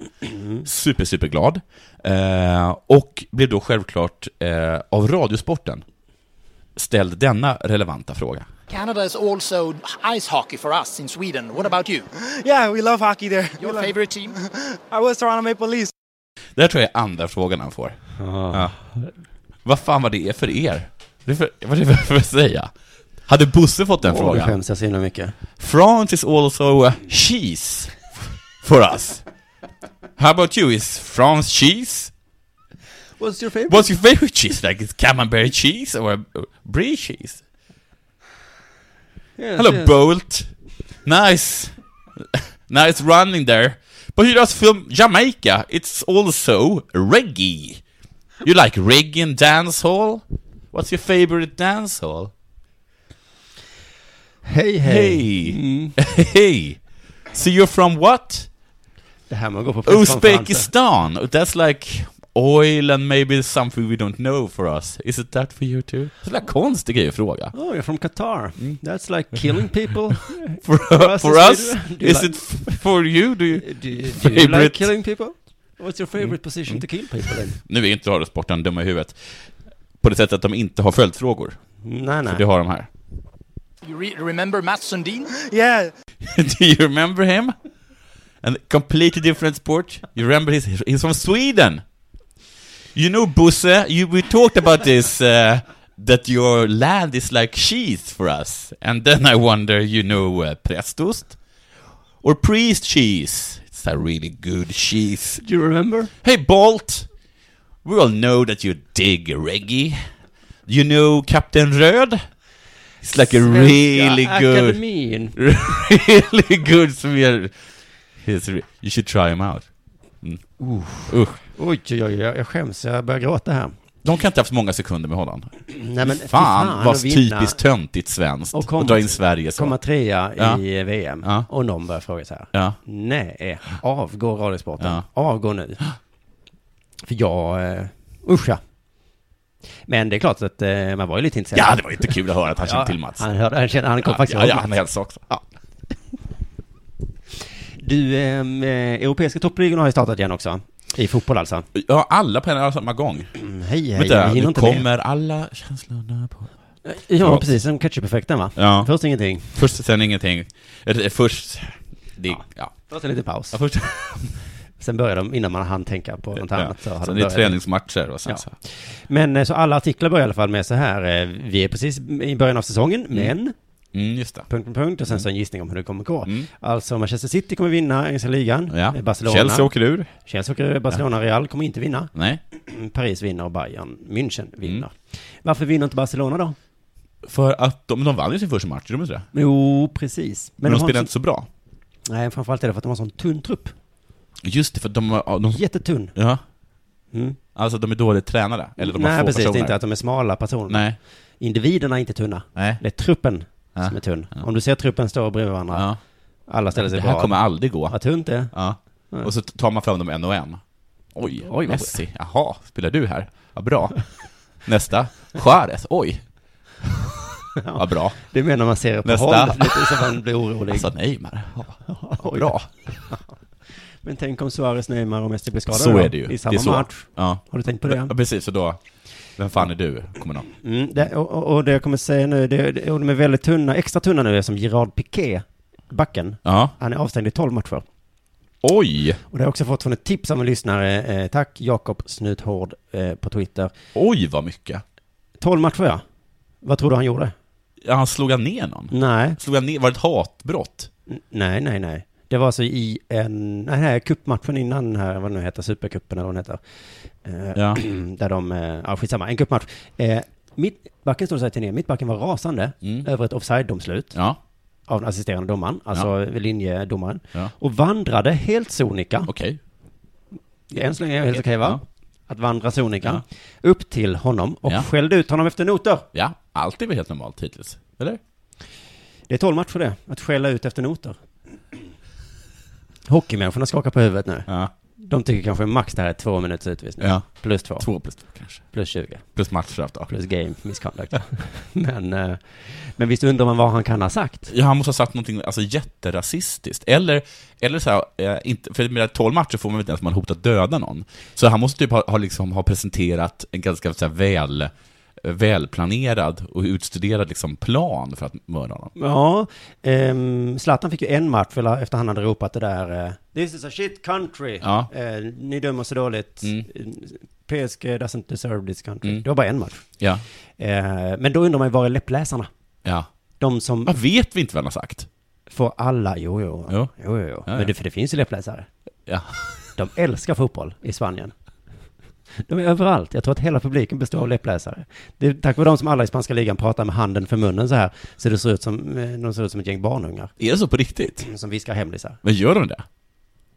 S6: Super, superglad. Eh, och blev då självklart eh, av Radiosporten ställd denna relevanta fråga.
S11: Canada is also ice hockey for us in Sweden. What about you?
S12: Yeah, we love hockey there.
S11: Your favorite team?
S12: I was Toronto Maple Leafs.
S6: Det här tror jag är andra frågan han får. Ja. Vad fan var det för er? Det är för, vad är det för att säga? Hade Bosse fått den
S5: Åh,
S6: frågan?
S5: nu skäms jag så himla mycket.
S6: France is also a cheese for uh, us. How about you? Is France cheese?
S5: What's your favorite?
S6: What's your favorite cheese? Like is camembert cheese or uh, brie cheese?
S5: Yes,
S6: Hello,
S5: yes.
S6: Bolt. Nice, nice running there. But you just from Jamaica. It's also reggae. You like reggae and dancehall? What's your favorite dancehall?
S5: Hej,
S6: Hey, Mm-hmm. hey. So you're from what?
S5: Det här med att gå på presskonferenser.
S6: Uzbekistan. That's like oil and maybe something we don't know for us. Is it that for you too? Sådär konstig grej att fråga.
S5: Oh, you're from Qatar.
S6: Mm.
S5: That's like killing people.
S6: For, for
S5: in
S6: us,
S5: Sweden. Do you
S6: is
S5: like-
S6: it f- for you? Do you,
S5: Do you, do you like killing people? What's your
S6: Mm.
S5: favorite position to kill people in?
S6: Nu är inte radiosporten dumma i huvudet. På det sättet att de inte har följdfrågor.
S5: Nej, nej.
S6: För det har de här.
S11: You re- remember Matt Sundin?
S12: Yeah.
S6: Do you remember him? And completely different sport. You remember his, he's from Sweden. You know Busse, you, we talked about this, uh, that your land is like cheese for us. And then I wonder, you know uh, prästost? Or priest cheese? It's a really good cheese.
S5: Do you remember?
S6: Hey Bolt! We all know that you dig reggae. You know Captain Röd? It's like a
S5: Svenska
S6: really good...
S5: Akademin.
S6: really good smear... His re- you should try him out. Mm. Usch.
S5: Oj, oj, oj, jag jag skäms. Jag börjar gråta här.
S6: De kan inte ha haft många sekunder med Holland.
S5: Nej, men fy
S6: fan,
S5: fan
S6: vad
S5: att vinna.
S6: typiskt töntigt svenskt
S5: Och komma-
S6: att dra in Sverige så.
S5: Komma trea
S6: Ja.
S5: i VM. Och någon börjar fråga så här.
S6: Ja.
S5: Nej, eh, avgå Radiosporten. Avgå nu. För jag... eh, Usch ja. Men det är klart att eh, man var ju lite intresserad.
S6: Ja, det var inte kul att höra att han kände till Mats.
S5: Han, hörde, han, kände, han kom
S6: Ja,
S5: faktiskt
S6: ja,
S5: ihåg
S6: ja,
S5: Mats.
S6: han hälsade också. Ja.
S5: Du, ehm, eh, europeiska toppligorna har ju startat igen också. I fotboll alltså.
S6: Ja, alla på en och samma gång.
S5: hej, hej,
S6: Vänta,
S5: vi hinner
S6: nu
S5: inte
S6: kommer
S5: med.
S6: alla känslorna på...
S5: Ja, precis. Som ketchup-effekten va?
S6: Ja.
S5: Först ingenting.
S6: Först, sen ingenting. Eller, Först... Det, ja.
S5: Först en liten paus.
S6: Ja, först.
S5: Sen börjar de, innan man hann tänka på något
S6: Ja.
S5: annat. Så har
S6: Sen det
S5: de
S6: är
S5: börjat.
S6: träningsmatcher och sen
S5: Ja.
S6: så.
S5: Men eh, så alla artiklar börjar i alla fall med så här, eh, vi är precis i början av säsongen,
S6: Mm.
S5: men...
S6: Mm, just det.
S5: Punkt, punkt, punkt, och sen så en gissning om hur det kommer gå. Alltså Manchester City kommer vinna engelska ligan.
S6: Mm. Ja.
S5: Eh, Barcelona.
S6: Chelsea åker ur.
S5: Chelsea åker ur, Barcelona, Real kommer inte vinna. Mm,
S6: Nej.
S5: Paris vinner och Bayern München
S6: Mm.
S5: vinner. Varför vinner inte Barcelona då?
S6: För att de, de vann ju sin första match, gjorde de inte det?
S5: Jo, precis.
S6: Men de
S5: har
S6: spelar
S5: en
S6: inte så bra.
S5: Nej, framförallt är det för att de har sån tunn trupp.
S6: Just det, för att de... har- de
S5: Jättetunn.
S6: Ja.
S5: Mm.
S6: Alltså de är dåligt tränade, eller de har
S5: Nej,
S6: få
S5: precis. Det är
S6: personer.
S5: inte att de är smala personer.
S6: Nej.
S5: Individerna är inte tunna.
S6: Nej.
S5: Det är truppen som är tunn. Om du ser truppen stå bredvid varandra, alla ställer sig
S6: Det här
S5: bra.
S6: kommer aldrig gå.
S5: Vad tunt det är.
S6: Ja.
S5: Ja.
S6: Och så tar man fram dem en och en. Oj,
S5: Oj, vad-
S6: Messi. Jaha, spelar du här? Vad bra. Nästa. Suarez. Oj. Vad bra.
S5: Det menar man ser på
S6: Nästa.
S5: håll, lite så man blir orolig.
S6: Alltså Neymar. Ja, Vad bra.
S5: Men tänk om Suarez, Neymar och Messi blir skadade
S6: Så
S5: då,
S6: är det ju.
S5: I samma
S6: det är så.
S5: match.
S6: Ja.
S5: Har du tänkt på det?
S6: Ja, precis. Så då, vem fan är du? Kommer någon.
S5: Mm, det, och- och, och det jag kommer säga nu, det, det, och de är väldigt tunna, extra tunna nu som Gerard Piqué, backen.
S6: Ja.
S5: Han är avstängd i 12 matcher.
S6: Oj!
S5: Och det har jag också fått från ett tips av en lyssnare. Eh, tack, Jakob Snuthård eh, på Twitter.
S6: Oj, vad mycket.
S5: 12 matcher ja. Vad tror du han gjorde?
S6: Ja, han slog han ner någon?
S5: Nej.
S6: Slog han ner? Var det ett hatbrott?
S5: N- Nej, nej, nej. Det var alltså i en, nej, nej, cupmatchen innan den här, vad den nu heter, supercupen eller vad den heter. Eh,
S6: Ja.
S5: Där de, eh, ja skitsamma, en cupmatch. Eh, mittbacken stod så här till ner, mittbacken var rasande
S6: Mm.
S5: över ett offside-domslut.
S6: Ja.
S5: Av den assisterande domaren, alltså linjedomaren.
S6: Ja.
S5: Och vandrade helt sonika.
S6: Okej.
S5: Än så länge är det helt okej va? Att vandra sonika. Upp till honom och
S6: Ja.
S5: skällde ut honom efter noter.
S6: Ja, allt är väl helt normalt hittills? Eller?
S5: Det är 12 match för det, att skälla ut efter noter. Hockeymänniskorna skakar på huvudet nu. De tycker kanske max det här är två minuters utvisning.
S6: Ja.
S5: Plus två.
S6: Två plus två kanske.
S5: Plus 20.
S6: Plus matchstraff då.
S5: Plus game misconduct. men, eh, men visst undrar man vad han kan ha sagt?
S6: Ja, han måste ha sagt någonting alltså, jätterasistiskt. Eller, eller så här, eh, inte, för med 12 matcher får man väl inte ens man hotat döda någon. Så han måste typ ha, ha, liksom, ha presenterat en ganska så här, väl, eh, välplanerad och utstuderad liksom, plan för att mörda honom.
S5: Ja, ehm, Zlatan fick ju en match för- efter han hade ropat det där eh, This is a shit country.
S6: Ja.
S5: Eh, ni dömer så dåligt. Eh, PSG doesn't deserve this country.
S6: Mm.
S5: Det var bara en match.
S6: Ja.
S5: Eh, men då undrar man ju, var är läppläsarna?
S6: Ja.
S5: De som...
S6: Vad vet vi inte vad han har sagt?
S5: Får alla, jo jo. Jo, jo, jo.
S6: Ja, ja.
S5: Men det, för det finns ju läppläsare.
S6: Ja.
S5: De älskar fotboll i Spanien. De är överallt. Jag tror att hela publiken består av läppläsare. Det är tack vare dem som alla i spanska ligan pratar med handen för munnen så här. Så det ser ut som, eh, de ser ut som ett gäng barnungar.
S6: Är det så på riktigt?
S5: Som viskar hemlisar.
S6: Men gör de det?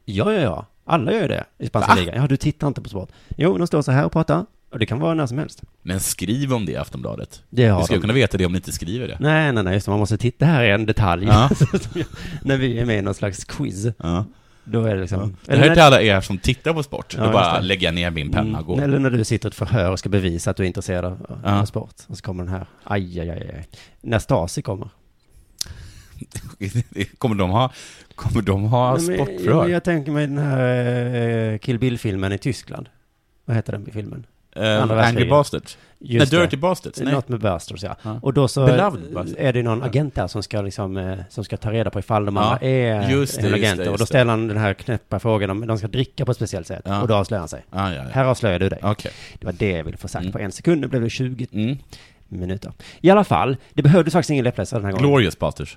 S5: Ja, ja, ja. Alla gör ju det i spanska ligan. Ja, du tittar inte på sport. Jo, de står så här och pratar. Och det kan vara när som helst.
S6: Men skriv om det i Aftonbladet.
S5: Det har
S6: Vi ska
S5: de.
S6: kunna veta det om ni inte skriver det.
S5: Nej, nej, nej, just det, man måste titta här är en detalj.
S6: Ja.
S5: när vi är med i någon slags quiz. Då är det liksom...
S6: Det här är till alla er som tittar på sport.
S5: Ja,
S6: då
S5: just
S6: bara
S5: det.
S6: lägga ner min penna och gå.
S5: Mm. Eller när du sitter i ett förhör och ska bevisa att du är intresserad av,
S6: Ja.
S5: av sport. Och så kommer den här, aj, aj, aj, aj. När Stasi kommer.
S6: Kommer de ha, kommer de ha
S5: Nej, men-
S6: sportförhör?
S5: Jag, jag tänker mig den här eh, Kill Bill-filmen i Tyskland. Vad heter den filmen?
S6: Eh, Angry
S5: världskriget.
S6: Bastards.
S5: Just
S6: Nej,
S5: det.
S6: Dirty Bastards, nej.
S5: Något med Bastards, ja.
S6: Ja.
S5: Och då så
S6: Beloved Bastards.
S5: är det någon agent där som ska, liksom, eh, som ska ta reda på ifall de
S6: Ja.
S5: andra är
S6: Just det,
S5: en
S6: just
S5: agent.
S6: det, just
S5: och då
S6: det.
S5: ställer han den här knäppa frågan om de ska dricka på ett speciellt sätt.
S6: Ja.
S5: Och då avslöjar han sig.
S6: Ja, ja, ja.
S5: Här avslöjar du dig.
S6: Okej. Mm.
S5: Det var det jag ville få sagt på en sekund. Nu blev det 20 minuter. I alla fall, det behövdes faktiskt ingen läppläsare den här gången.
S6: Glorious Bastards.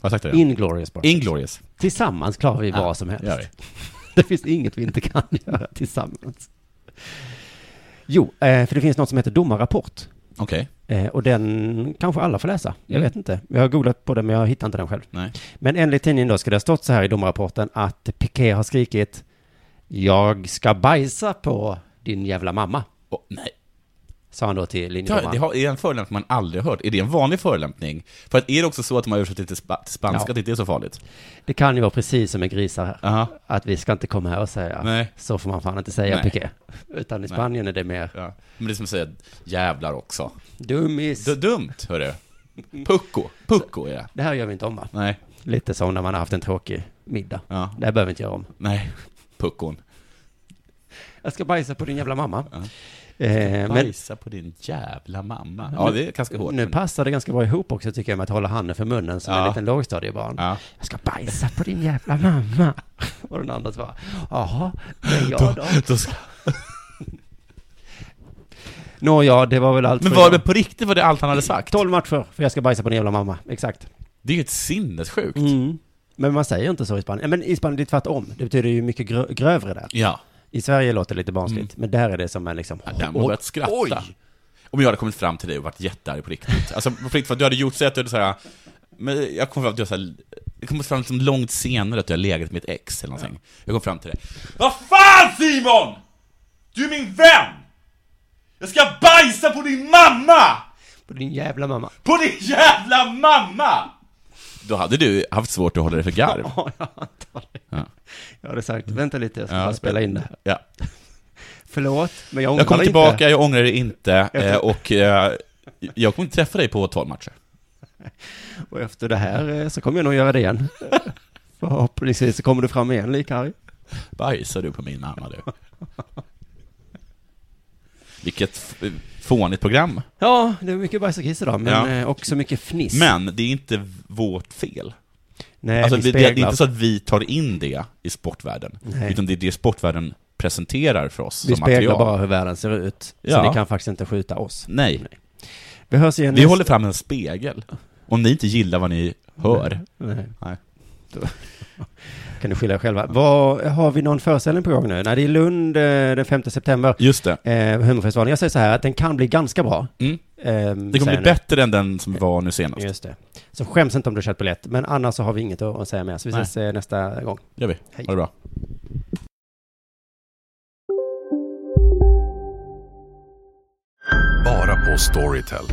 S6: Har jag sagt det?
S5: Inglorious Bastards.
S6: Inglorious.
S5: Tillsammans klarar vi
S6: Ja,
S5: vad som helst.
S6: gör
S5: Det.
S6: vi.
S5: finns inget vi inte kan göra tillsammans. Jo, eh, för det finns något som heter domarrapport.
S6: Okej.
S5: Eh, Och den kanske alla får läsa. Jag
S6: Mm.
S5: vet inte. Jag har googlat på den men jag hittar inte den själv.
S6: Nej.
S5: Men enligt tidningen då ska det ha stått så här i domarrapporten att Piqué har skrikit Jag ska bajsa på din jävla mamma.
S6: nej.
S5: Sa han då till
S6: Det, har, det
S5: linjedomaren.
S6: har, är en förolämpning man aldrig hört. Är det en vanlig förolämpning? För att är det också så att de har översatt det till, spa, till spanska,
S5: Ja.
S6: att det inte är så farligt?
S5: Det kan ju vara precis som med grisar här. Att vi ska inte komma här och säga
S6: Nej.
S5: så får man fan inte säga
S6: Nej.
S5: Piqué. Utan i
S6: Nej.
S5: Spanien är det mer
S6: Ja. Men det är som att säga jävlar också.
S5: Dummis.
S6: Du, dumt, hörru. Pucko. Pucko är det.
S5: Det här gör vi inte om va?
S6: Nej.
S5: Lite som när man har haft en tråkig middag.
S6: Ja.
S5: Det här behöver vi inte göra om.
S6: Nej. Puckon.
S5: Jag ska bajsa på din jävla mamma.
S6: Eh,
S5: Eh, men
S6: Bajsa på din jävla mamma. Ja, det är ganska hårt.
S5: nu passar det ganska bra ihop också tycker jag med att hålla handen för munnen som
S6: Ja.
S5: en liten lågstadiebarn.
S6: Ja.
S5: Jag ska bajsa på din jävla mamma. Och den andra svarar, jaha, men jag då?
S6: då ska...
S5: Nå ja, det var väl allt
S6: Men
S5: för
S6: var
S5: idag.
S6: det på riktigt var det allt han hade sagt?
S5: 12 matcher för jag ska bajsa på din jävla mamma, exakt.
S6: Det är ju ett sinnessjukt.
S5: Mm. Men man säger inte så i Spanien. Men i Spanien det är tvärtom. Det betyder ju mycket grö- grövre där.
S6: Ja.
S5: I Sverige låter det lite barnsligt,
S6: Mm.
S5: men där är det som en liksom...
S6: Där har man börjat skratta. Om jag hade kommit fram till dig och varit jättearg på riktigt. Alltså på riktigt, för att du hade gjort så att du så här, men jag kom fram till att du har så här, jag kom fram liksom långt senare att du har legat med ett ex eller någonting. Jag kom fram till dig. Vad fan Simon! Du är min vän! Jag ska bajsa på din mamma!
S5: På din jävla mamma.
S6: På din jävla mamma! Då hade du haft svårt att hålla dig för garv.
S5: Ja, jag antar det.
S6: Ja.
S5: Jag hade sagt, vänta lite, jag ska
S6: Ja.
S5: bara spela in det här.
S6: Ja.
S5: Förlåt, men jag ångrar
S6: Jag kommer
S5: inte.
S6: tillbaka, jag ångrar det inte eh, och eh, jag kommer inte träffa dig på 12 matcher.
S5: Och efter det här eh, så kommer jag nog göra det igen. Förhoppningsvis så kommer du fram igen lika arg.
S6: Bajsar du på min mamma du? Vilket f- fånigt program.
S5: Ja, det är mycket bajs och kiss idag, men
S6: Ja.
S5: eh, också mycket fniss.
S6: Men det är inte vårt fel.
S5: Nej,
S6: alltså,
S5: vi
S6: det, det är
S5: speglar.
S6: inte så att vi tar in det i sportvärlden,
S5: Nej.
S6: utan det är det sportvärlden presenterar för oss
S5: Vi
S6: som
S5: speglar
S6: material.
S5: bara hur världen ser ut.
S6: Ja.
S5: Så ni kan faktiskt inte skjuta oss.
S6: Nej.
S5: Vi hörs igen
S6: Vi
S5: nästa-
S6: håller fram en spegel. Om ni inte gillar vad ni hör.
S5: Nej.
S6: Nej.
S5: Då kan ni skylla er själva. Vad, har vi någon föreställning på gång nu? Nej, det är Lund eh, den 5 september.
S6: Just det.
S5: Eh, humorfestivalen. Jag säger så här att den kan bli ganska bra.
S6: Mm.
S5: Ehm,
S6: Det kommer
S5: säger
S6: bli
S5: jag nu.
S6: bättre än den som var nu senast.
S5: Just det. Så skäms inte om du köpt biljett. Men annars så har vi inget att att säga mer. Så vi
S6: Nej.
S5: ses eh, nästa gång.
S6: gör vi.
S5: Hej.
S6: Ha det bra.
S13: Bara på Storytel.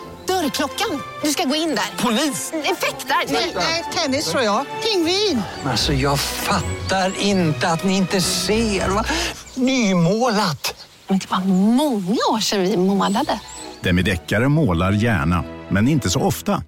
S10: Dörrklockan. Du ska gå in där. Mm,
S14: Polis?
S10: Effektar?
S14: Nej, nej, tennis tror jag.
S10: Pingvin.
S14: Alltså jag fattar inte att ni inte ser. Va? Nymålat.
S10: Men det var många år sedan vi målade.
S15: Demideckare målar gärna, men inte så ofta.